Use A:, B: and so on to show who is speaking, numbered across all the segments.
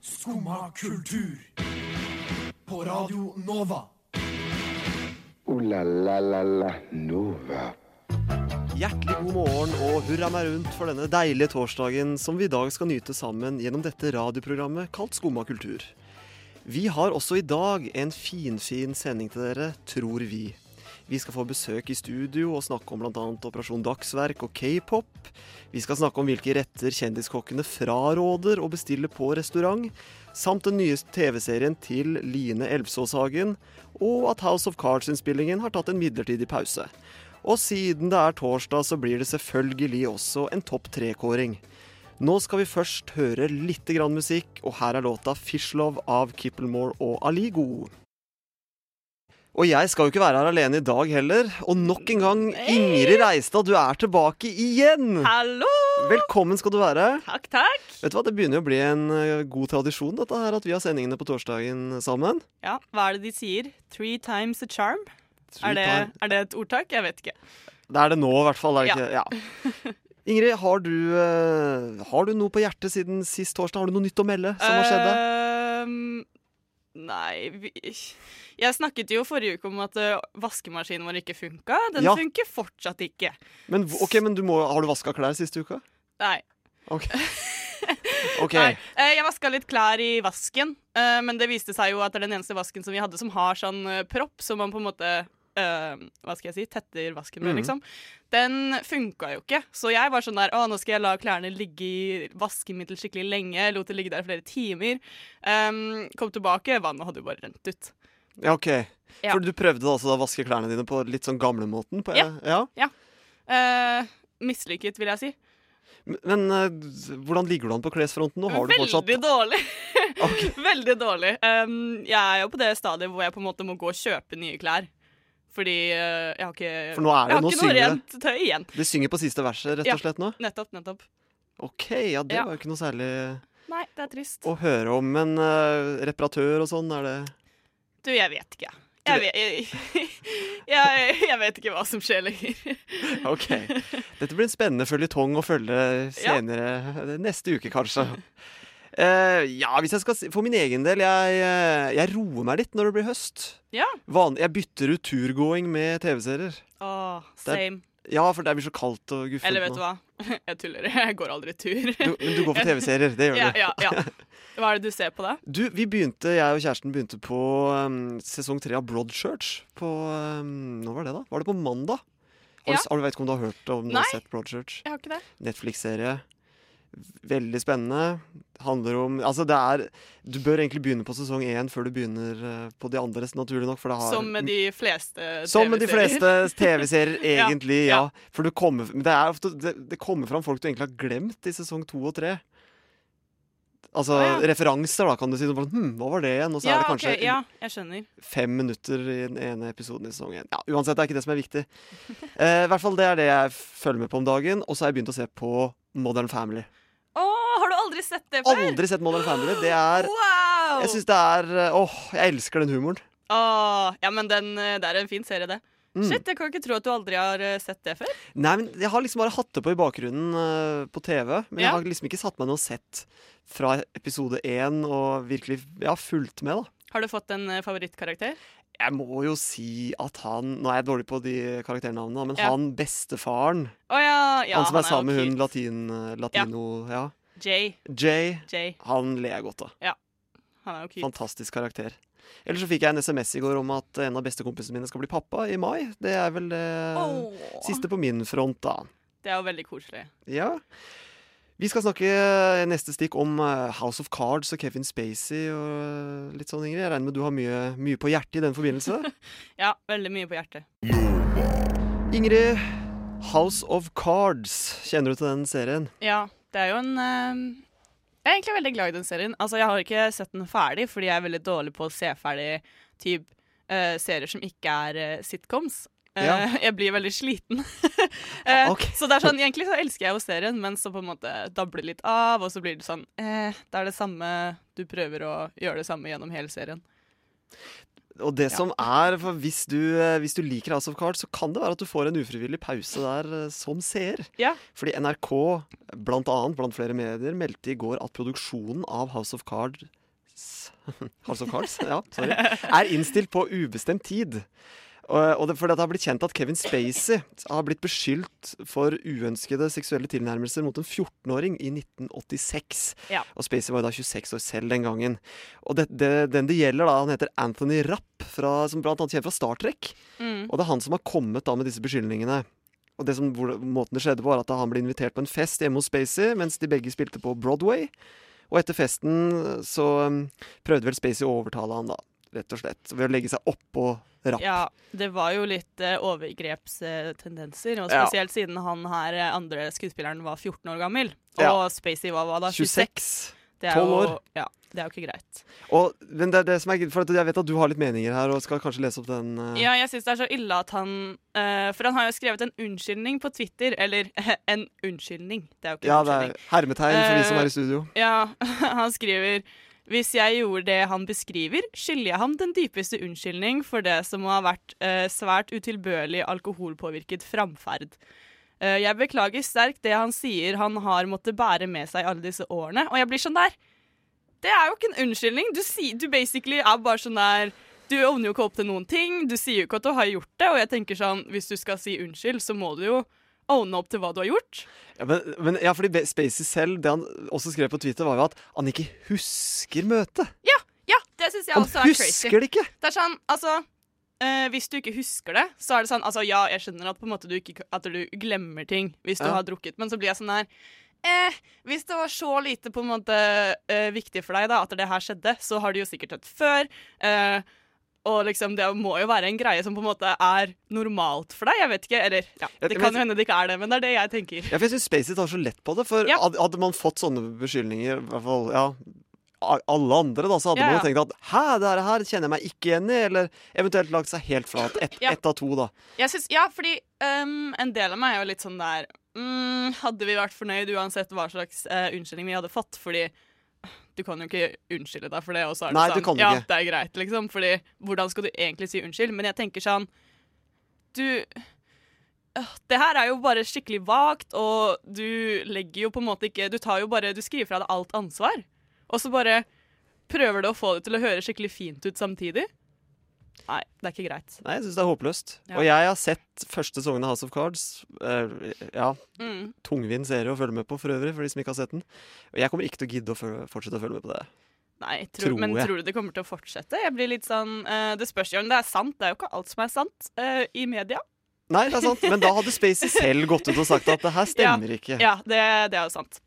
A: Skumma kultur. På Radio Nova.
B: Ooh la la la la Nova.
C: Hjertelig god morgen og hurra meg rundt for denne deilige torsdagen som vi i dag skal nyte sammen gjennom dette radioprogrammet kalt Skumma kultur. Vi har også i dag en finfin sending til dere, tror vi. Vi skal få besøk i studio og snakke om bl.a. Operasjon Dagsverk og k-pop. Vi skal snakke om hvilke retter kjendiskokkene fraråder å bestille på restaurant, samt den nye TV-serien til Line Elvsåshagen, og at House of Cards-innspillingen har tatt en midlertidig pause. Og siden det er torsdag, så blir det selvfølgelig også en topp tre-kåring. Nå skal vi først høre litt grann musikk, og her er låta 'Fishlove' av Kippelmore og Aligo. Og jeg skal jo ikke være her alene i dag heller. Og nok en gang, Ingrid Reistad, du er tilbake igjen!
D: Hallo!
C: Velkommen skal du være.
D: Takk, takk.
C: Vet du hva, Det begynner jo å bli en eh, god tradisjon dette her, at vi har sendingene på torsdagen sammen.
D: Ja, hva er det de sier? Three times a charm? Er det,
C: Sweet time.
D: er det et ordtak? Jeg vet ikke.
C: Det er det nå, i hvert fall. Er det ikke?
D: Ja.
C: Ja. Ingrid, har du, eh, har du noe på hjertet siden sist torsdag? Har du noe nytt å melde som har skjedd?
D: Eh,
C: deg?
D: Ehm, nei vi, Jeg snakket jo forrige uke om at ø, vaskemaskinen vår ikke funka. Den
C: Ja.
D: funker fortsatt ikke.
C: Men, v- ok, men du må, har du vaska klær siste uka?
D: Nei.
C: Ok. Ok.
D: nei. Eh, jeg vaska litt klær i vasken, eh, men det viste seg jo at det er den eneste vasken som vi hadde som har sånn eh, propp, som man på en måte eh, hva skal jeg si, tetter vasken med,
C: Mhm.
D: liksom. Den funka jo ikke. Så jeg var sånn der Å, nå skal jeg la klærne ligge i vaskemiddel skikkelig lenge. Lot det ligge der i flere timer. Em, kom tilbake, vannet hadde jo bare rent ut.
C: Ja, ok.
D: Ja.
C: For du prøvde da altså å vaske klærne dine på litt sånn gamlemåten? på-
D: Ja.
C: ja.
D: Eh, mislykket, vil jeg si.
C: Men eh, hvordan ligger du an på klesfronten nå? Har du
D: Veldig
C: fortsatt
D: dårlig.
C: Ok.
D: Veldig dårlig. Em, jeg er jo på det stadiet hvor jeg på en måte må gå og kjøpe nye klær. Fordi eh, jeg har ikke
C: For nå er det nå
D: Jeg har ikke noe
C: synger det.
D: rent tøy igjen.
C: Det synger på siste verset, rett
D: Ja.
C: og slett nå?
D: Nettopp, nettopp.
C: Ok, ja, det
D: Ja.
C: var jo ikke noe særlig
D: Nei, det er trist.
C: å høre om. Men eh, reparatør og sånn, er det
D: Du, jeg vet ikke. Jeg vet, jeg, jeg, jeg vet ikke hva som skjer lenger.
C: Ok. Dette blir en spennende føljetong å følge senere, neste uke kanskje. Eh, ja, hvis jeg skal si For min egen del, jeg, eh, jeg roer meg litt når det blir høst.
D: Ja.
C: Van, jeg bytter ut turgåing med TV-serier.
D: Åh, same.
C: Ja, for det blir så kaldt og guffent
D: Eller vet du
C: nå.
D: hva? Jeg tuller. Jeg går aldri tur.
C: Du, men du går for TV-serier, det gjør
D: Ja,
C: du.
D: ja, ja. Hva er det du ser på, da?
C: Du, vi begynte, Jeg og kjæresten begynte på um, sesong tre av Broadchurch. På um, Når var det, da? Var det på mandag? Har du,
D: Ja.
C: s- har du vet ikke om du har hørt om du har
D: Nei.
C: sett Broadchurch?
D: Jeg har ikke det.
C: Netflix-serie. Veldig spennende. Handler om Altså, det er Du bør egentlig begynne på sesong én før du begynner eh, på de andres, naturlig nok, for det har
D: Som med de fleste
C: Som med de
D: Eh, TV-serier.
C: fleste TV-serier,
D: Ja,
C: egentlig, ja.
D: ja.
C: For du kommer, men det, er ofte, det, det kommer fram folk du egentlig har glemt i sesong to og tre. Altså
D: Å, ja.
C: referanser, da, kan du si. Sånn, hm, hva var det igjen? Og så
D: Ja,
C: er det
D: ok,
C: kanskje
D: ja, jeg skjønner.
C: fem minutter i den ene episoden i sesong én. Ja, uansett, det er ikke det som er viktig. Eh, I hvert fall det er det jeg følger med på om dagen. Og så har jeg begynt å se på Modern Family.
D: Å, har du aldri sett det før?
C: Aldri sett Modern Family. Det er
D: Wow!
C: Jeg syns det er eh, Åh, jeg elsker den humoren.
D: Åh, ja, men den, eh, det er en fin serie, det.
C: Mm.
D: Shit, jeg kan ikke tro at du aldri har eh, sett det før.
C: Nei, men Jeg har liksom bare hatt det på i bakgrunnen eh, på TV, men jeg
D: Ja.
C: har liksom ikke satt meg ned og sett fra episode én og virkelig ja, fulgt med. da.
D: Har du fått en eh, favorittkarakter?
C: Jeg må jo si at han Nå er jeg dårlig på de karakternavnene, da, men
D: Ja.
C: han bestefaren,
D: Å ja, ja,
C: han som er,
D: jo
C: sammen med hun
D: cute.
C: latin, eh, latino, ja.
D: Jay.
C: Jay,
D: Jay.
C: han ler jeg godt av.
D: Han er jo cute.
C: Fantastisk karakter. Eller så fikk jeg en SMS i går om at en av bestekompisene mine skal bli pappa i mai. Det er vel det
D: Åh.
C: siste på min front, da.
D: Det er jo veldig koselig.
C: Ja. Vi skal snakke neste stikk om eh, House of Cards og Kevin Spacey og eh, litt sånn, Ingrid. Jeg regner med du har mye, mye på hjertet i den forbindelse.
D: Ja, veldig mye på hjertet.
C: Ingrid, House of Cards. Kjenner du til den serien?
D: Ja, det er jo en eh, Jeg er egentlig veldig glad i den serien. Altså, Jeg har ikke sett den ferdig, fordi jeg er veldig dårlig på å se ferdig typ, eh, serier som ikke er eh, sitcoms. Eh,
C: Ja.
D: Jeg blir veldig sliten. Eh,
C: Ok.
D: Så det er sånn, Egentlig så elsker jeg jo serien, men så på en måte dabler det litt av. Og så blir det sånn eh, Det er det samme Du prøver å gjøre det samme gjennom hele serien.
C: Og det
D: Ja.
C: som er, for hvis du, eh, hvis du liker House of Cards, så kan det være at du får en ufrivillig pause der eh, som seer.
D: Ja.
C: Fordi NRK, blant annet, blant flere medier, meldte i går at produksjonen av House of Cards Cards House of Cards, ja, sorry, er innstilt på ubestemt tid. Og og det, fordi det har blitt kjent at Kevin Spacey har blitt beskyldt for uønskede seksuelle tilnærmelser mot en 14-åring i 1986.
D: Ja.
C: Og Spacey var jo da 26 år selv den gangen. Og det, det, den det gjelder, da, han heter Anthony Rapp, fra, som blant annet kjent fra Star Trek.
D: Mm.
C: Og det er han som har kommet da med disse beskyldningene. Og det som, hvor, måten det skjedde på var at han ble invitert på en fest hjemme hos Spacey, mens de begge spilte på Broadway. Og etter festen så um, prøvde vel Spacey å overtale han da, rett og slett. Ved å legge seg oppå rapp.
D: Ja, det var jo litt eh, overgrepstendenser, og
C: Ja.
D: spesielt siden han her eh, andre skuespilleren var 14 år gammel. Og
C: Ja.
D: Spacey var hva da? 26?
C: 26.
D: Det er
C: 12
D: jo-
C: år.
D: Ja, det er jo ikke greit.
C: Og, men det er det som er, for at jeg vet at du har litt meninger her, og skal kanskje lese opp den. eh,
D: Ja, jeg syns det er så ille at han eh, For han har jo skrevet en unnskyldning på Twitter. Eller en unnskyldning, det er jo ikke
C: ja
D: en
C: det
D: unnskyldning.
C: er hermetegn for de som
D: Eh,
C: er i studio.
D: Ja, han skriver Hvis jeg gjorde det han beskriver, skylder jeg ham den dypeste unnskyldning for det som har vært eh, svært utilbørlig alkoholpåvirket framferd. Eh, jeg beklager sterkt det han sier han har måttet bære med seg alle disse årene, og jeg blir sånn der Det er jo ikke en unnskyldning. Du, si, du basically er bare sånn der du ovner jo ikke opp til noen ting, du sier jo ikke at du har gjort det. Og jeg tenker sånn, hvis du skal si unnskyld, så må du jo ovne opp til hva du har gjort.
C: Ja, men, men, ja, fordi Be- Spacey selv, det han også skrev på Twitter, var jo at han ikke husker møtet.
D: Ja, det syns jeg
C: Han
D: også er crazy.
C: husker det ikke!
D: Det er sånn, altså eh, Hvis du ikke husker det, så er det sånn Altså, ja, jeg skjønner at, på en måte du, ikke, at du glemmer ting hvis du
C: Ja.
D: har drukket, men så blir jeg sånn der Eh, hvis det var så lite på en måte eh, viktig for deg da at det her skjedde, så har du jo sikkert hørt før. eh, og liksom, det må jo være en greie som på en måte er normalt for deg. Jeg vet ikke, eller ja,
C: Ja,
D: Det
C: men-
D: kan jo hende det ikke er det, men det er det jeg tenker.
C: Ja, for jeg syns Spacey tar så lett på det. For
D: Ja.
C: had- hadde man fått sånne beskyldninger, i hvert fall ja, a- alle andre, da, så hadde
D: Ja,
C: man jo tenkt at hæ, det her- her kjenner jeg meg ikke igjen i, eller eventuelt lagt seg helt flat. Ett
D: Ja.
C: ett av to, da.
D: Jeg synes, ja, fordi ehm, en del av meg er jo litt sånn der mm, Hadde vi vært fornøyd uansett hva slags eh, unnskyldning vi hadde fått? Fordi du kan jo ikke unnskylde deg for det, og så er det
C: Nei,
D: sånn
C: det kan du
D: Ja,
C: ikke.
D: det er greit, liksom. Fordi hvordan skal du egentlig si unnskyld? Men jeg tenker sånn Du øh, det her er jo bare skikkelig vagt, og du legger jo på en måte ikke Du tar jo bare Du skriver fra deg alt ansvar, og så bare prøver du å få det til å høre skikkelig fint ut samtidig. Nei, det er ikke greit.
C: Nei, jeg syns det er håpløst.
D: Ja.
C: Og jeg har sett første sesongen av House of Cards. eh, ja,
D: Mm.
C: tungvint serie å følge med på for øvrig, for de som ikke har sett den. Og jeg kommer ikke til å gidde å føl- fortsette å følge med på det.
D: Nei, tror,
C: Tror
D: men
C: jeg.
D: tror du det kommer til å fortsette? Jeg blir litt sånn, eh, Det spørs jo om det er sant. Det er jo ikke alt som er sant eh, i media.
C: Nei, det er sant, men da hadde Spacey selv gått ut og sagt at det her stemmer ikke.
D: Ja, det, det er jo sant.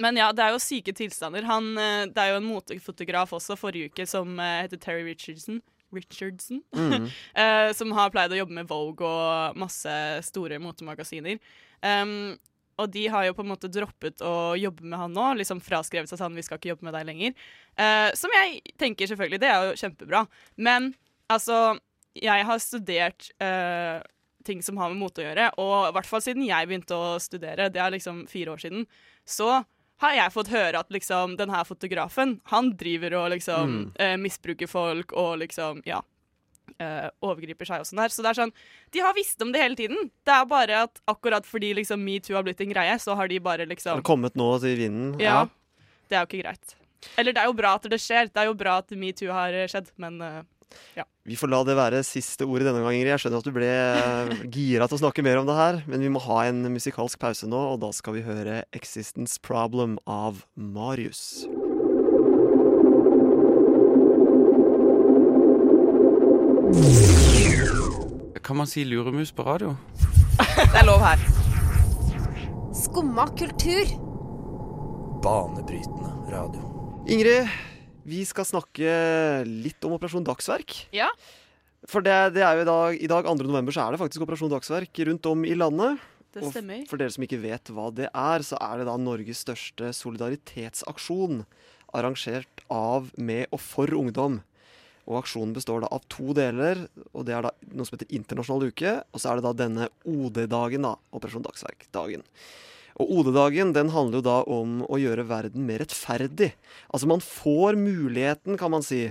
D: Men ja, det er jo syke tilstander. Han, eh, det er jo en motefotograf også forrige uke som eh, heter Terry Richardson. Richardson
C: Mm.
D: eh, som har pleid å jobbe med Vogue og masse store motemagasiner. Um, og de har jo på en måte droppet å jobbe med han nå, liksom fraskrevet seg sånn 'vi skal ikke jobbe med deg lenger'. Eh, som jeg tenker selvfølgelig, det er jo kjempebra. Men altså, jeg har studert eh, ting som har med mote å gjøre, og i hvert fall siden jeg begynte å studere, det er liksom fire år siden, så har jeg fått høre at liksom den her fotografen, han driver og liksom eh, misbruker folk og liksom, ja eh, overgriper seg og sånn der. Så det er sånn, de har visst om det hele tiden. Det er bare at akkurat fordi liksom metoo har blitt en greie, så har de bare
C: Har
D: liksom
C: det kommet nå til vinden?
D: Ja. Det er jo ikke greit. Eller det er jo bra at det skjer. Det er jo bra at metoo har eh, skjedd, men eh,
C: Vi får la det være siste ordet denne gang, Ingrid. Jeg skjønner at du ble eh, gira til å snakke mer om det her, men vi må ha en musikalsk pause nå, og da skal vi høre 'Existence Problem' av Marius.
E: Kan man si luremus på radio?
D: det er lov her.
F: Skumma kultur.
A: Banebrytende radio.
C: Ingrid, vi skal snakke litt om Operasjon Dagsverk.
D: Ja.
C: For det, det er jo i dag, i dag, 2. november, så er det faktisk Operasjon Dagsverk rundt om i landet.
D: Det
C: Og f-
D: stemmer.
C: For dere som ikke vet hva det er, så er det da Norges største solidaritetsaksjon. Arrangert av, med og for ungdom. Og aksjonen består da av to deler. og Det er da noe som heter Internasjonal uke. Og så er det da denne OD-dagen, da. Operasjon Dagsverk-dagen. Og OD-dagen den handler jo da om å gjøre verden mer rettferdig. Altså man får muligheten, kan man si,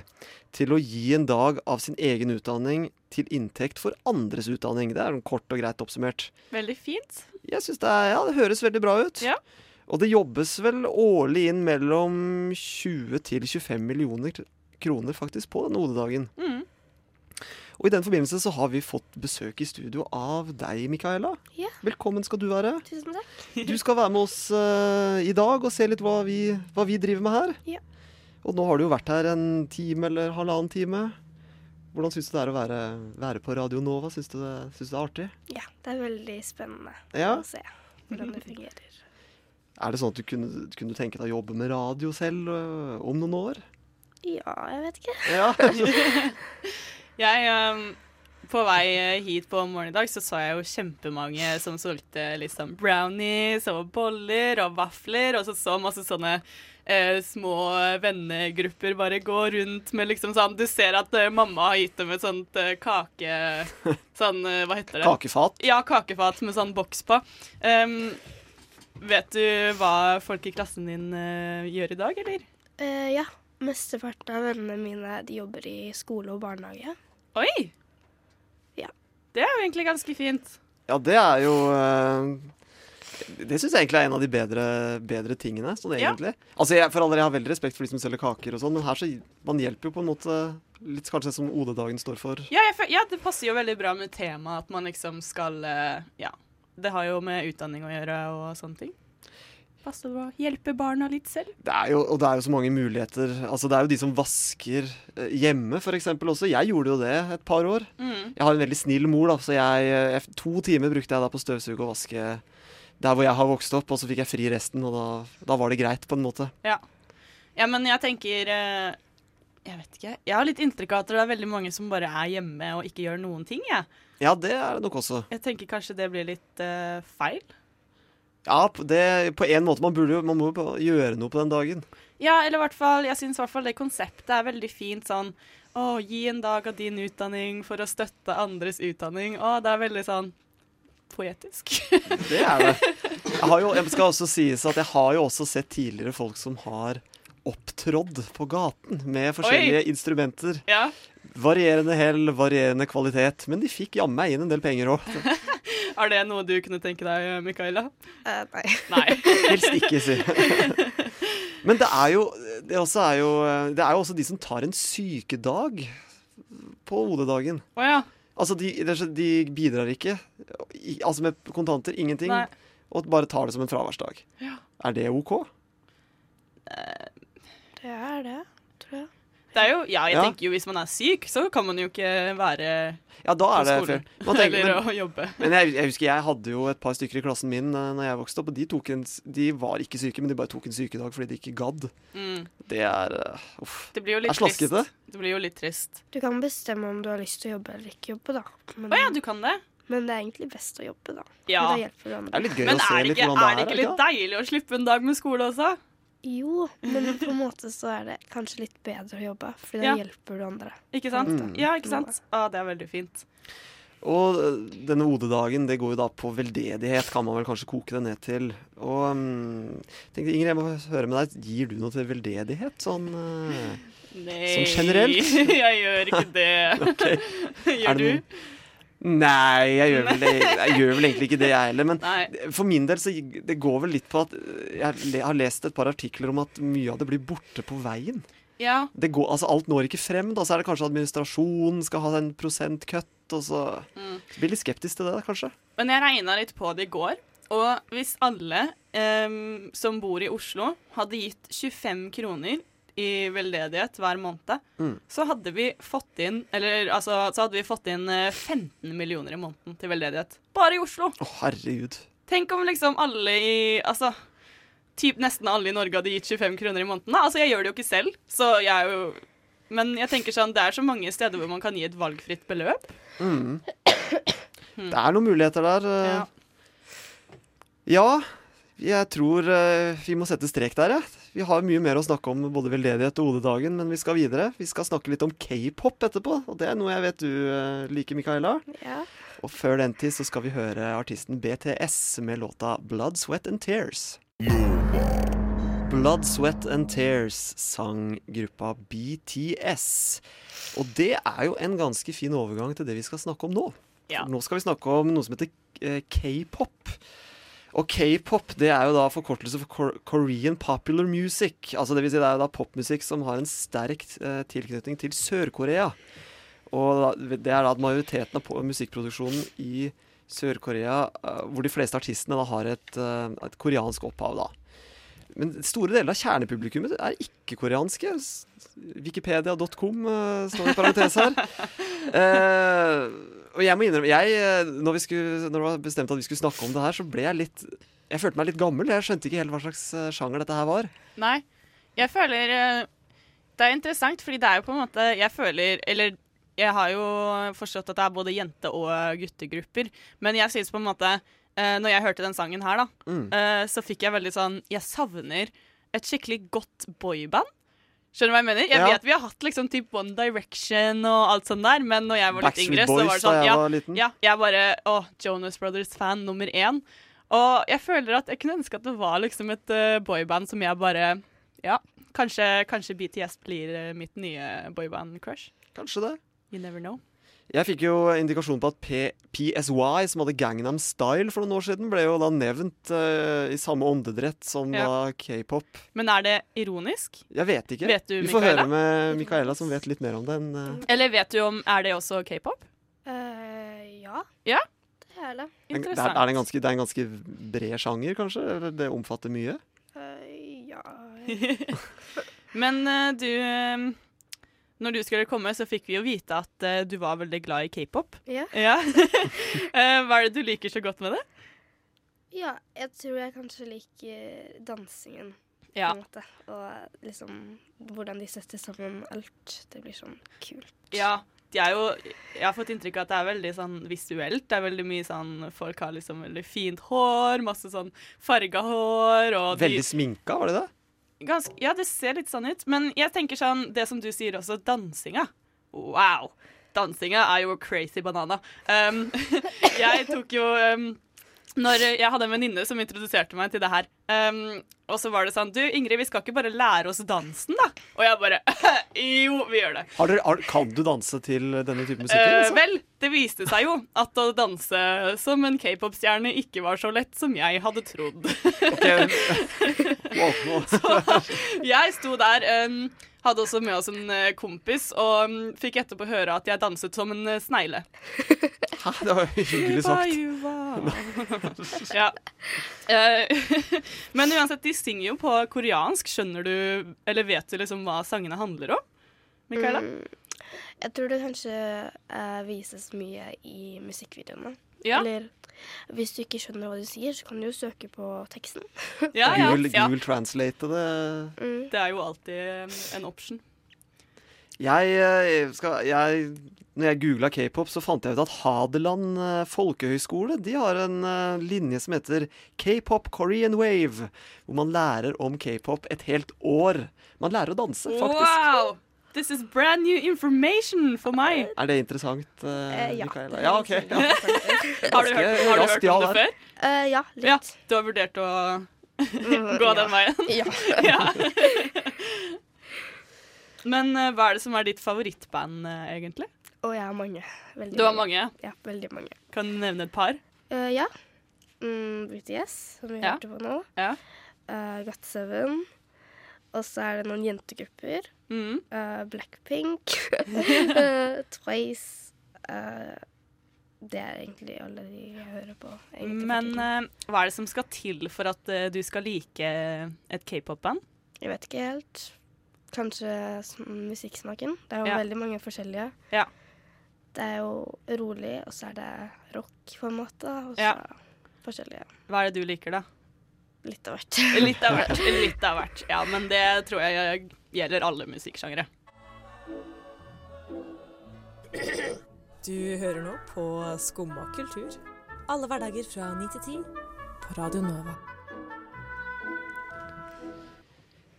C: til å gi en dag av sin egen utdanning til inntekt for andres utdanning. Det er sånn kort og greit oppsummert.
D: Veldig fint.
C: Jeg synes det, er, ja, det høres veldig bra ut.
D: Ja.
C: Og det jobbes vel årlig inn mellom 20 til 25 millioner kroner faktisk på denne OD-dagen.
D: Mm.
C: Og i den forbindelse så har vi fått besøk i studio av deg, Mikaela.
F: Ja.
C: Velkommen skal du være.
F: Tusen takk.
C: Du skal være med oss eh, i dag og se litt hva vi, hva vi driver med her.
F: Ja.
C: Og nå har du jo vært her en time eller halvannen time. Hvordan syns du det er å være, være på Radio Nova? Syns du, det, syns du det er artig?
F: Ja, det er veldig spennende
C: Ja.
F: å se hvordan det fungerer.
C: Er det sånn at du kunne, kunne tenke deg å jobbe med radio selv eh, om noen år?
F: Ja, jeg vet ikke.
C: Ja.
D: Jeg, ehm, på vei eh, hit på morgenen i dag, så så jeg jo kjempemange som solgte liksom brownies og boller og vafler, og så så masse sånne eh, små vennegrupper bare gå rundt med liksom sånn Du ser at eh, mamma har gitt dem et sånt eh, kake... Sånn, eh, hva heter det?
C: Kakefat.
D: Ja, kakefat med sånn boks på. Ehm, vet du hva folk i klassen din eh, gjør i dag, eller?
F: Eh, ja, mesteparten av vennene mine de jobber i skole og barnehage.
D: Oi!
F: Ja.
D: Det er jo egentlig ganske fint.
C: Ja, det er jo eh, Det syns jeg egentlig er en av de bedre, bedre tingene. Sånn
D: Ja.
C: egentlig. Altså, jeg, for alle, jeg har veldig respekt for de som selger kaker og sånn, men her så man hjelper jo på en måte litt kanskje det som OD-dagen står for.
D: Ja, jeg, fø- ja, det passer jo veldig bra med temaet at man liksom skal eh, Ja. Det har jo med utdanning å gjøre og sånne ting. Passer å hjelpe barna litt selv.
C: Det er jo, og det er jo så mange muligheter. Altså, det er jo de som vasker eh, hjemme, f.eks. også. Jeg gjorde jo det et par år.
D: Mm.
C: Jeg har en veldig snill mor, da, så jeg, eh, jeg To timer brukte jeg da på å støvsuge og vaske der hvor jeg har vokst opp, og så fikk jeg fri resten, og da, da var det greit, på en måte.
D: Ja, men jeg tenker eh, Jeg vet ikke. Jeg har litt inntrykk av at det er veldig mange som bare er hjemme og ikke gjør noen ting, jeg.
C: Ja, det er det nok også.
D: Jeg tenker kanskje det blir litt eh, feil.
C: Ja, p- det, på en måte. Man, burde, jo- man må jo bare gjøre noe på den dagen.
D: Ja, eller i hvert fall, jeg syns i hvert fall det konseptet er veldig fint sånn Å, gi en dag av din utdanning for å støtte andres utdanning. Å, det er veldig sånn poetisk.
C: Det er det. Jeg, har jo, jeg skal også sies at jeg har jo også sett tidligere folk som har opptrådd på gaten med forskjellige instrumenter.
D: ja.
C: Varierende hell, varierende kvalitet. Men de fikk jammen meg inn en del penger òg.
D: Er det noe du kunne tenke deg, Mikaela?
F: Eh, nei.
D: Nei.
C: Helst ikke, si. Men det er, jo, det, også er jo, det er jo også de som tar en sykedag på OD-dagen.
D: Å ja.
C: Altså, de, det er så- de bidrar ikke. I, altså med kontanter, ingenting.
D: Nei.
C: Og bare tar det som en fraværsdag. Er det OK?
F: Det er det, tror jeg.
D: Det er jo, ja, jeg
C: Ja.
D: tenker jo hvis man er syk, så kan man jo ikke være
C: Ja, da
D: på
C: er det
D: skolen.
C: fair. Man tenker,
D: eller
C: men
D: å jobbe.
C: men jeg, jeg husker jeg hadde jo et par stykker i klassen min eh, Når jeg vokste opp, og de, tok en, s- de var ikke syke, men de bare tok en sykedag fordi de ikke gadd.
D: Mm.
C: Det er eh, Uff.
D: Det blir jo litt
C: Er slaskete?
D: trist. Det blir jo litt trist.
F: Du kan bestemme om du har lyst til å jobbe eller ikke jobbe, da. Men,
D: Å ja, du kan det?
F: men det er egentlig best å jobbe, da. For
D: Ja.
F: Da hjelper du
C: Det
F: andre.
C: er litt gøy
D: Men
C: å se
D: er det,
C: litt
D: ikke,
C: hvordan
D: er det ikke litt
C: det?
D: deilig å slippe en dag med skole også?
F: Jo, men på en måte så er det kanskje litt bedre å jobbe, for da
D: Ja.
F: hjelper du andre.
D: Ikke sant?
C: Mm.
D: Ja, ikke sant? Å, det er veldig fint.
C: ikke? Og eh, denne OD-dagen, det går jo da på veldedighet, kan man vel kanskje koke det ned til. Og mm, jeg tenkte, Ingrid, jeg må høre med deg. Gir du noe til veldedighet? Sånn eh,
D: Nei,
C: generelt?
D: jeg gjør ikke det.
C: OK. Er
D: Gjør
C: det
D: du?
C: Nei, jeg gjør, vel, jeg, jeg gjør vel egentlig ikke det, jeg heller. Men
D: Nei.
C: for min del så det går vel litt på at øh, jeg le- har lest et par artikler om at mye av det blir borte på veien.
D: Ja.
C: Det går, altså Alt når ikke frem. da, Så er det kanskje administrasjonen skal ha en prosentkutt. Og så
D: Mm.
C: blir litt skeptisk til det, da, kanskje.
D: Men jeg regna litt på det i går, og hvis alle em, som bor i Oslo hadde gitt 25 kroner i veldedighet hver måned,
C: Mm.
D: så hadde vi fått inn Eller altså, så hadde vi fått inn eh, 15 millioner i måneden til veldedighet. Bare i Oslo.
C: Å, herregud.
D: Tenk om liksom alle i Altså typ nesten alle i Norge hadde gitt 25 kroner i måneden. da. Altså, jeg gjør det jo ikke selv, så jeg er jo Men jeg tenker sånn, det er så mange steder hvor man kan gi et valgfritt beløp.
C: Mm. Det er noen muligheter der. øh.
D: Ja.
C: Ja, jeg tror eh, vi må sette strek der, jeg. Vi har mye mer å snakke om, både veldedighet og OD-dagen, men vi skal videre. Vi skal snakke litt om k-pop etterpå, og det er noe jeg vet du eh, liker, Mikaela.
F: Ja.
C: Og før den tid så skal vi høre artisten BTS med låta Blood, Sweat and Tears. Blood, Sweat and Tears sang gruppa BTS. Og det er jo en ganske fin overgang til det vi skal snakke om nå.
D: Ja.
C: For Nå skal vi snakke om noe som heter eh, k-pop. Og k-pop det er jo da forkortelse for Kor- Korean Popular Music. Altså det, vil si det er jo da popmusikk som har en sterk eh, tilknytning til Sør-Korea. Og da, det er da at majoriteten av po- musikkproduksjonen i Sør-Korea, eh, hvor de fleste artistene da har et, eh, et koreansk opphav, da. Men store deler av kjernepublikummet er ikke koreanske. S- Wikipedia.com eh, står i parentes her. Eh, og jeg må innrømme jeg, eh, når, vi skulle, når det var bestemt at vi skulle snakke om det her, så ble jeg litt Jeg følte meg litt gammel. Jeg skjønte ikke helt hva slags eh, sjanger dette her var.
D: Nei. Jeg føler eh, Det er interessant, fordi det er jo på en måte Jeg føler Eller jeg har jo forstått at det er både jente- og guttegrupper, men jeg synes på en måte eh, Når jeg hørte den sangen her, da,
C: Mm.
D: eh, så fikk jeg veldig sånn Jeg savner et skikkelig godt boyband. Skjønner du hva jeg mener? Jeg
C: Ja.
D: vet vi har hatt liksom typ One Direction og alt sånt der, men når jeg var litt yngre,
C: Backstreet
D: så
C: Boys
D: var
C: da
D: det sånn
C: jeg
D: ja,
C: var liten.
D: ja, jeg bare Å, Jonas Brothers-fan nummer én. Og jeg føler at jeg kunne ønske at det var liksom et eh, boyband som jeg bare Ja, kanskje, kanskje BTS blir eh, mitt nye boyband-crush.
C: Kanskje det.
D: You never know.
C: Jeg fikk jo indikasjon på at P PSY, som hadde Gangnam Style for noen år siden, ble jo da nevnt eh, i samme åndedrett som
D: Ja.
C: da k-pop.
D: Men er det ironisk?
C: Jeg vet ikke.
D: Vet du,
C: vi får
D: Michaela?
C: høre med Micaela, som vet litt mer om det enn eh,
D: Eller vet du om Er det også k-pop?
F: Eh, ja.
D: Ja?
F: Det er
C: en-
F: det.
C: det, er,
D: Interessant.
C: er det en ganske, det er en ganske bred sjanger, kanskje? Eller det omfatter mye?
F: Eh, ja
D: Men eh, du eh, Når du skulle komme, så fikk vi jo vite at eh, du var veldig glad i k-pop.
F: Ja.
D: Ja. Eh, hva er det du liker så godt med det?
F: ja, jeg tror jeg kanskje liker dansingen,
D: Ja.
F: på en måte. Og liksom hvordan de setter sammen alt. Det blir sånn kult.
D: Ja, de er jo Jeg har fått inntrykk av at det er veldig sånn visuelt. Det er veldig mye sånn Folk har liksom veldig fint hår, masse sånn farga hår og de,
C: Veldig sminka, var det det?
D: ganske, Ja, det ser litt sånn ut. Men jeg tenker sånn Det som du sier også, dansinga. Wow! Dansinga er jo crazy banana. Um, jeg tok jo um, når jeg hadde en venninne som introduserte meg til det her. Um, og så var det sånn Du, Ingrid, vi skal ikke bare lære oss dansen, da? Og jeg bare Jo, vi gjør det.
C: Har dere, har, kan du danse til denne type musikk?
D: Eh,
C: eller, altså?
D: vel, det viste seg jo at å danse som en k-pop-stjerne ikke var så lett som jeg hadde trodd.
C: Wow, wow.
D: Jeg sto der, em, hadde også med oss en eh, kompis, og em, fikk etterpå høre at jeg danset som en eh, snegle.
C: Hæ, det var jo hyggelig sagt.
D: ja. Eh, Men uansett, de synger jo på koreansk. Skjønner du, eller vet du liksom hva sangene handler om? Michaela?
F: Mm, jeg tror det kanskje eh, vises mye i musikkvideoene.
D: Ja,
F: Eller hvis du ikke skjønner hva de sier, så kan du jo søke på teksten.
D: ja, ja,
C: Google,
D: ja.
C: Google translate det.
F: Mm.
D: Det er jo alltid em, en option.
C: Jeg, eh, skal, jeg, når jeg googla k-pop, så fant jeg ut at Hadeland eh, folkehøgskole de har en eh, linje som heter K-pop Korean Wave. Hvor man lærer om k-pop et helt år. Man lærer å danse, faktisk.
D: Wow! This is brand new information for meg.
C: Er det interessant, eh,
F: Eh, ja.
C: Micaela? Ja, OK. Ja.
D: Har du
C: Ganske
D: hørt, har du
C: raskt
D: hørt om
C: ja
D: det
C: der.
D: før?
F: Eh, ja, litt.
D: Ja, du har vurdert å
F: Mm,
D: gå
F: ja.
D: den veien?
F: Ja.
D: Ja. Men eh, hva er det som er ditt favorittband, eh, egentlig?
F: Og jeg har mange. Veldig
D: Du har mange.
F: Ja, veldig mange.
D: Kan du nevne et par?
F: Eh, ja. Mm, BTS, som vi
D: Ja.
F: hørte på nå.
D: Ja.
F: Uh, Got7. Og så er det noen jentegrupper.
D: Mm.
F: Eh, Blackpink. Eh, Twice. Eh, det er egentlig alle de jeg hører på. egentlig,
D: Men
F: for tiden.
D: eh, hva er det som skal til for at eh, du skal like et k-pop-band?
F: Jeg vet ikke helt. Kanskje sm- musikksmaken. Det er jo
D: Ja.
F: veldig mange forskjellige.
D: Ja.
F: Det er jo rolig, og så er det rock, på en måte. Og så
D: Ja.
F: forskjellige.
D: Hva er det du liker, da?
F: Litt av hvert.
D: Litt av hvert. Litt av hvert. Ja, men det tror jeg gjelder alle musikksjangre.
G: Du hører nå på Skumma kultur. Alle hverdager fra 9 til 10 på Radio Nova.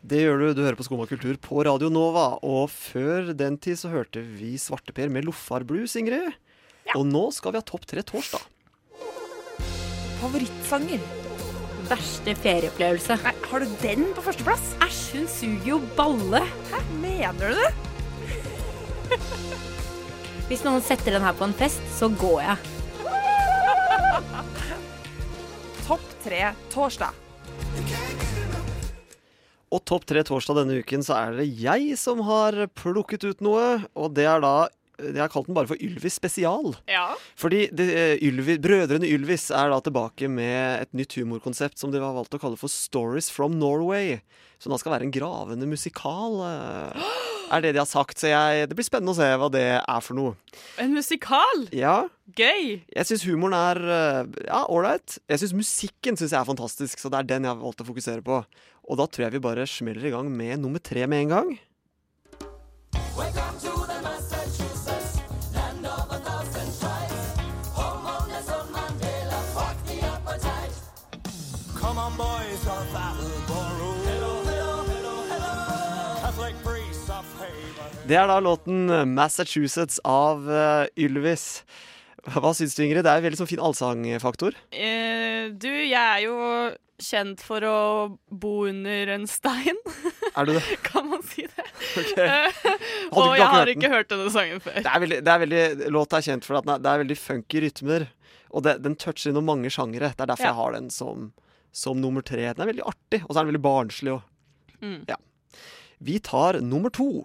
C: Det gjør du. Du hører på Skumma kultur på Radio Nova. Og før den tid så hørte vi Svarteper med Loffar Blues, Ingrid. Og nå skal vi ha Topp tre torsdag.
H: Favorittsanger. Verste ferieopplevelse. Nei, har du den på førsteplass? Æsj, hun suger jo balle. Hæ, mener du det? Hvis noen setter den her på en fest, så går jeg. Topp
I: tre torsdag.
C: Og topp tre torsdag denne uken så er det jeg som har plukket ut noe, og det er da jeg har kalt den bare for Ylvis spesial.
D: Ja.
C: Fordi det, eh, Ylvi, Brødrene Ylvis er da tilbake med et nytt humorkonsept som de har valgt å kalle for Stories from Norway. Som da skal være en gravende musikal, eh, er det de har sagt. Så jeg, det blir spennende å se hva det er for noe.
D: En musikal!
C: Ja,
D: Gøy!
C: jeg syns humoren er eh, ja, ålreit. Jeg syns musikken synes jeg er fantastisk, så det er den jeg har valgt å fokusere på. Og da tror jeg vi bare smeller i gang med nummer tre med en gang. Det er da låten 'Massachusetts' av eh, Ylvis. Hva syns du, Ingrid? Det er en veldig sånn fin allsangfaktor.
D: Eh, du, jeg er jo kjent for å bo under en stein,
C: Er du det?
D: kan man si det? Eh,
C: Ok. Hadde ikke
D: Og jeg
C: dere
D: har
C: hørt den?
D: ikke hørt denne sangen før.
C: Det er veldig, det er veldig, låta er kjent for at den er- det er veldig funky rytmer, og det, den toucher innom mange sjangere. Det er derfor
D: Ja.
C: jeg har den som, som nummer tre. Den er veldig artig, og så er den veldig barnslig òg.
D: Mm.
C: Ja. Vi tar nummer to.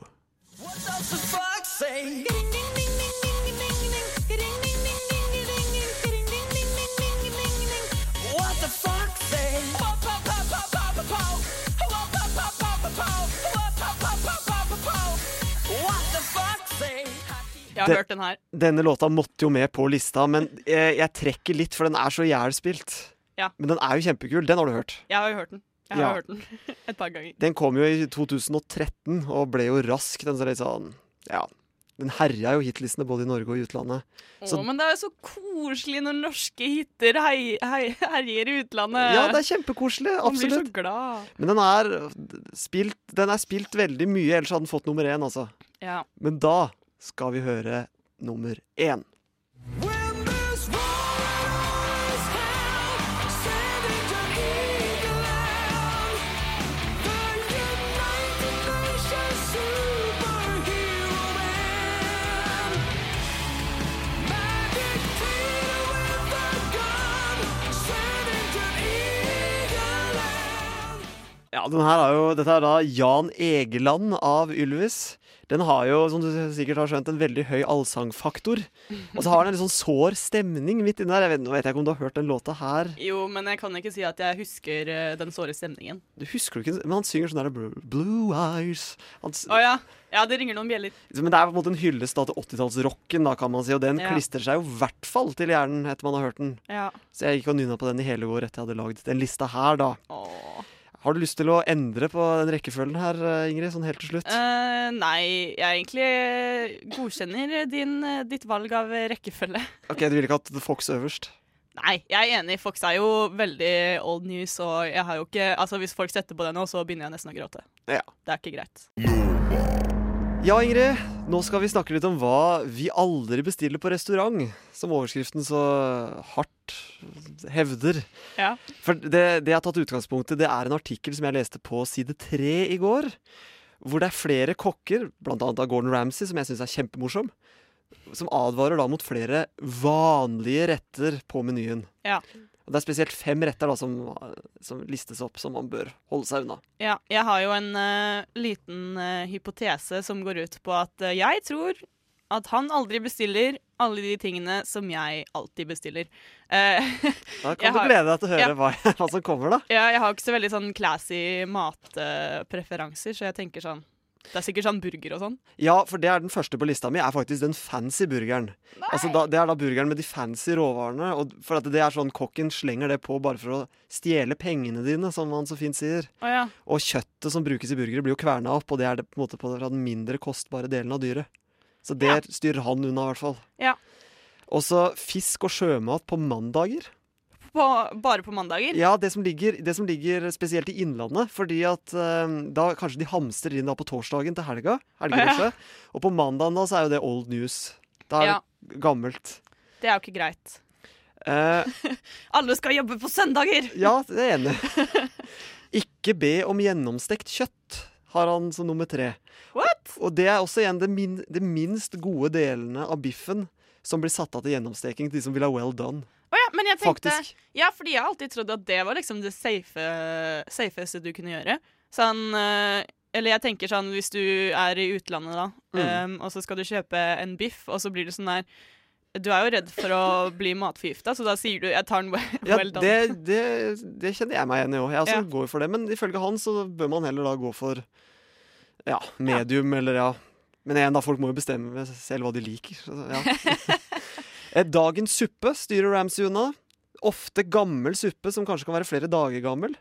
D: Jeg har
C: Det-
D: hørt den her.
C: Denne låta måtte jo med på lista, men jeg, jeg trekker litt, for den er så jævlspilt.
D: Ja.
C: Men den er jo kjempekul. Den har du hørt.
D: Jeg har jo hørt den. Jeg har
C: Ja.
D: hørt den et par ganger.
C: Den kom jo i 2013 og ble jo rask. Den, så litt sånn, ja. den herja jo hitlistene både i Norge og i utlandet.
D: Å,
C: Så-
D: men det er jo så koselig når norske hiter hei- hei- herjer i utlandet.
C: Ja, det er kjempekoselig.
D: Man blir så
C: Absolutt.
D: glad.
C: Men den er spilt, den er spilt veldig mye, ellers hadde den fått nummer én, altså.
D: Ja.
C: Men da skal vi høre nummer én. Ja, den her er jo, Dette er da Jan Egeland av Ylvis. Den har jo, som du sikkert har skjønt, en veldig høy allsangfaktor. Og så har den en litt sånn sår stemning midt inni der. Jeg vet, nå vet jeg ikke om du har hørt den låta her.
D: Jo, men jeg kan ikke si at jeg husker eh, den såre stemningen.
C: Du husker du ikke, men han synger sånn der Blue, blue Eyes. Han, s-
D: Å ja. ja, det ringer noen bjeller.
C: Men det er på en måte en hyllest da til 80-tallsrocken, da, kan man si. Og den
D: Ja.
C: klistrer seg jo i hvert fall til hjernen etter man har hørt den.
D: Ja.
C: Så jeg gikk og nynna på den i hele går etter jeg hadde lagd den lista her, da.
D: Åh.
C: Har du lyst til å endre på den rekkefølgen her, Ingrid? Sånn helt til slutt?
D: Eh, nei, jeg egentlig eh, godkjenner din, eh, ditt valg av eh, rekkefølge.
C: Ok, Du vil ikke at The Fox øverst?
D: Nei, jeg er enig. Fox er jo veldig old news, og jeg har jo ikke Altså, hvis folk setter på det nå, så begynner jeg nesten å gråte.
C: Ja.
D: Det er ikke greit.
C: Ja, Ingrid. Nå skal vi snakke litt om hva vi aldri bestiller på restaurant. Som overskriften så hardt hevder.
D: Ja.
C: For det, det jeg har tatt utgangspunkt i, det er en artikkel som jeg leste på side tre i går. Hvor det er flere kokker, blant annet av Gordon Ramsay, som jeg syns er kjempemorsom, som advarer da mot flere vanlige retter på menyen.
D: Ja.
C: Og det er spesielt fem retter da som, som listes opp som man bør holde seg unna.
D: Ja, jeg har jo en eh, liten eh, hypotese som går ut på at eh, jeg tror at han aldri bestiller alle de tingene som jeg alltid bestiller. Eh,
C: Da kan
D: Jeg
C: du
D: har-
C: glede deg til å høre
D: Ja.
C: hva, hva som kommer, da.
D: ja, jeg har ikke så veldig sånn classy matpreferanser, så jeg tenker sånn Det er sikkert sånn burger og sånn.
C: Ja, for det er den første på lista mi, er faktisk den fancy burgeren. Altså da, det er da burgeren med de fancy råvarene. Og for at det er sånn Kokken slenger det på bare for å stjele pengene dine, som han så fint sier.
D: Å ja.
C: Og kjøttet som brukes i burgere, blir jo kverna opp, og det er det på en måte på fra den mindre kostbare delen av dyret. Så det styrer han unna, i hvert fall.
D: Ja.
C: Og så fisk og sjømat på mandager.
D: På, bare på mandager?
C: Ja, det som ligger, det som ligger spesielt i Innlandet. Fordi at eh, da kanskje de hamstrer inn da på torsdagen til helga. helgebrødset, Og på mandagen da så er jo det old news. Da er
D: Ja.
C: det gammelt.
D: Det er jo ikke greit.
C: Eh,
D: Alle skal jobbe på søndager!
C: ja, det er enig. Ikke be om gjennomstekt kjøtt, har han som nummer tre.
D: What?
C: Og det er også igjen det, min, det minst gode delene av biffen som blir satt av til gjennomsteking til de som vil ha well done.
D: men jeg tenkte
C: Faktisk.
D: Ja, fordi jeg har alltid trodd at det var liksom det safe, safeste du kunne gjøre. Sånn eh, Eller jeg tenker sånn hvis du er i utlandet, da,
C: Mm.
D: eh, og så skal du kjøpe en biff, og så blir du sånn der Du er jo redd for å bli matforgifta, så da sier du 'jeg tar den well,
C: Ja,
D: well done'.
C: det, det, det kjenner jeg meg igjen i òg. Jeg også
D: Ja.
C: går for det. Men ifølge han så bør man heller da gå for ja, medium eller ja Men igjen, da, folk må jo bestemme selv hva de liker. så Ja. Eh, Dagens suppe styrer Ramsay unna. Ofte gammel suppe som kanskje kan være flere dager gammel.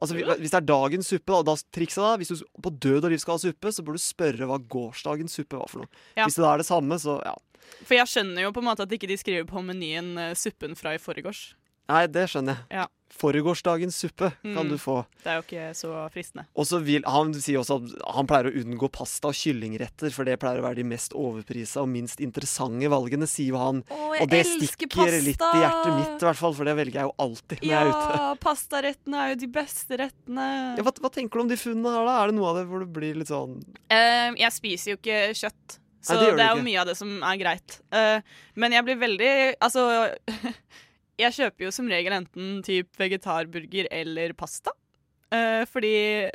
C: Altså, hvi- Hvis det er dagens suppe, da, da trikset da, hvis du på død og liv skal ha suppe, så bør du spørre hva gårsdagens suppe var for noe.
D: Ja.
C: Hvis det da er det samme, så ja.
D: For jeg skjønner jo på en måte at ikke de skriver på menyen eh, 'suppen fra i forgårs'.
C: Nei, det skjønner jeg.
D: Ja.
C: Foregårsdagens suppe kan
D: Mm.
C: du få.
D: Det er jo ikke så fristende.
C: Og så vil, Han sier også at han pleier å unngå pasta og kyllingretter, for det pleier å være de mest overprisa og minst interessante valgene, sier jo han.
D: jeg
C: Og det stikker litt i hjertet mitt, i hvert fall, for det velger jeg jo alltid når jeg er ute.
D: Ja, pastarettene er jo de beste rettene.
C: Ja, hva, hva tenker du om de funnene her, da? Er det noe av det hvor du blir litt sånn
D: Ehm, jeg spiser jo ikke kjøtt, så
C: det gjør
D: det,
C: du
D: er jo
C: ikke.
D: mye av det som er greit. Eh, men jeg blir veldig Altså, jeg kjøper jo som regel enten typ vegetarburger eller pasta. eh, fordi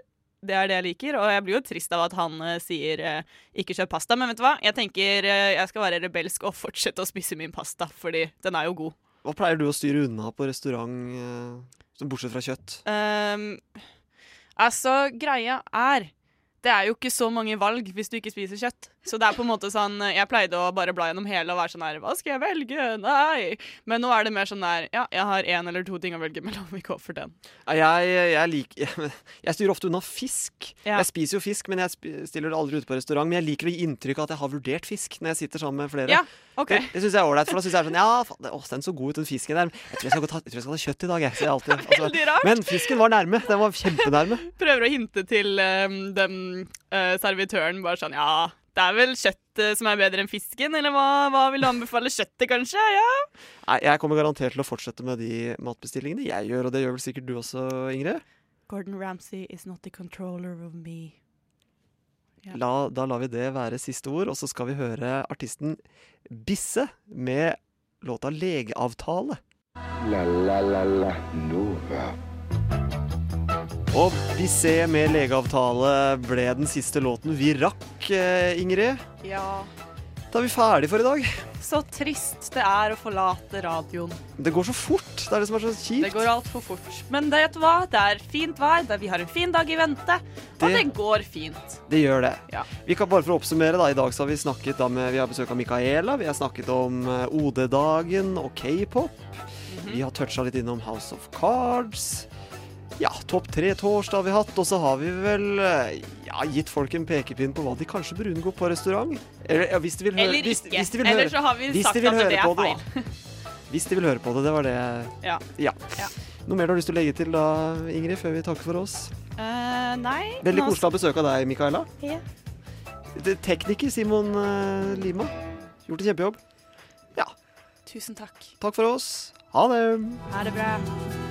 D: det er det jeg liker, og jeg blir jo trist av at han eh, sier eh, ikke kjøp pasta. Men vet du hva, jeg tenker eh, jeg skal være rebelsk og fortsette å spise min pasta, fordi den er jo god.
C: Hva pleier du å styre unna på restaurant, eh, så bortsett fra kjøtt?
D: Ehm, altså, greia er Det er jo ikke så mange valg hvis du ikke spiser kjøtt. Så det er på en måte sånn Jeg pleide å bare bla gjennom hele og være sånn her Hva skal jeg velge? Nei! Men nå er det mer sånn der Ja, jeg har én eller to ting å velge mellom. Vi går for den.
C: Nei, Jeg, jeg, liker, jeg, styrer ofte unna fisk.
D: Ja.
C: Jeg spiser jo fisk, men jeg sp- stiller det aldri ute på restaurant. Men jeg liker å gi inntrykk av at jeg har vurdert fisk når jeg sitter sammen med flere.
D: Ja, OK.
C: Det, det syns jeg er ålreit. For da syns jeg er sånn Ja, faen, det- åh, den så god ut, den fisken der. Jeg tror jeg skal, gå ta, jeg tror jeg skal ta kjøtt i dag, jeg. Så jeg alltid, altså.
D: Veldig rart.
C: Men fisken var nærme. Den var kjempenærme.
D: Prøver å hinte til ehm, den eh, servitøren bare sånn Ja, det er vel kjøttet som er bedre enn fisken, eller hva, hva vil du anbefale? Kjøttet, kanskje? Ja.
C: Nei, jeg kommer garantert til å fortsette med de matbestillingene jeg gjør, og det gjør vel sikkert du også, Ingrid.
D: Gordon Ramsay is not the controller of me. Ja.
C: La, da lar vi det være siste ord, og så skal vi høre artisten Bisse med låta 'Legeavtale'.
B: La la la la Nova.
C: Og Bisse med 'Legeavtale' ble den siste låten vi rakk, eh, Ingrid.
D: ja.
C: Da er vi ferdig for i dag.
D: Så trist det er å forlate radioen.
C: Det går så fort. Det er det som er så kjipt.
D: Det går altfor fort. Men det, vet du hva? det er fint vær, det- vi har en fin dag i vente, og
C: Det-
D: det går fint.
C: Det gjør det.
D: Ja.
C: Vi kan bare for å oppsummere da, I dag så har vi snakket da med, vi har besøk av Micaela, vi har snakket om eh, OD-dagen og k-pop.
D: Mhm.
C: Vi har toucha litt innom House of Cards. Ja, Topp tre torsdag har vi hatt, og så har vi vel eh, ja, gitt folk en pekepinn på hva de kanskje bør unngå på restaurant. Eller, ja, hvis de vil høre,
D: Eller
C: hvis,
D: ikke.
C: hvis de vil
D: Eller
C: høre-
D: så har vi
C: hvis
D: sagt
C: de vil
D: at
C: høre
D: det
C: på
D: er
C: det,
D: feil.
C: da. Hvis de vil høre på det, det var det.
D: Ja.
C: Ja.
D: Ja.
C: Noe mer du har lyst til å legge til da, Ingrid, før vi takker for oss?
D: Eh, nei
C: Veldig
D: nå-
C: koselig å ha besøk av deg, Micaela.
F: Ja.
C: Det- Tekniker Simon eh, Lima. Gjort en kjempejobb.
D: Tusen takk.
C: Takk for oss. Ha det.
D: Ha det bra.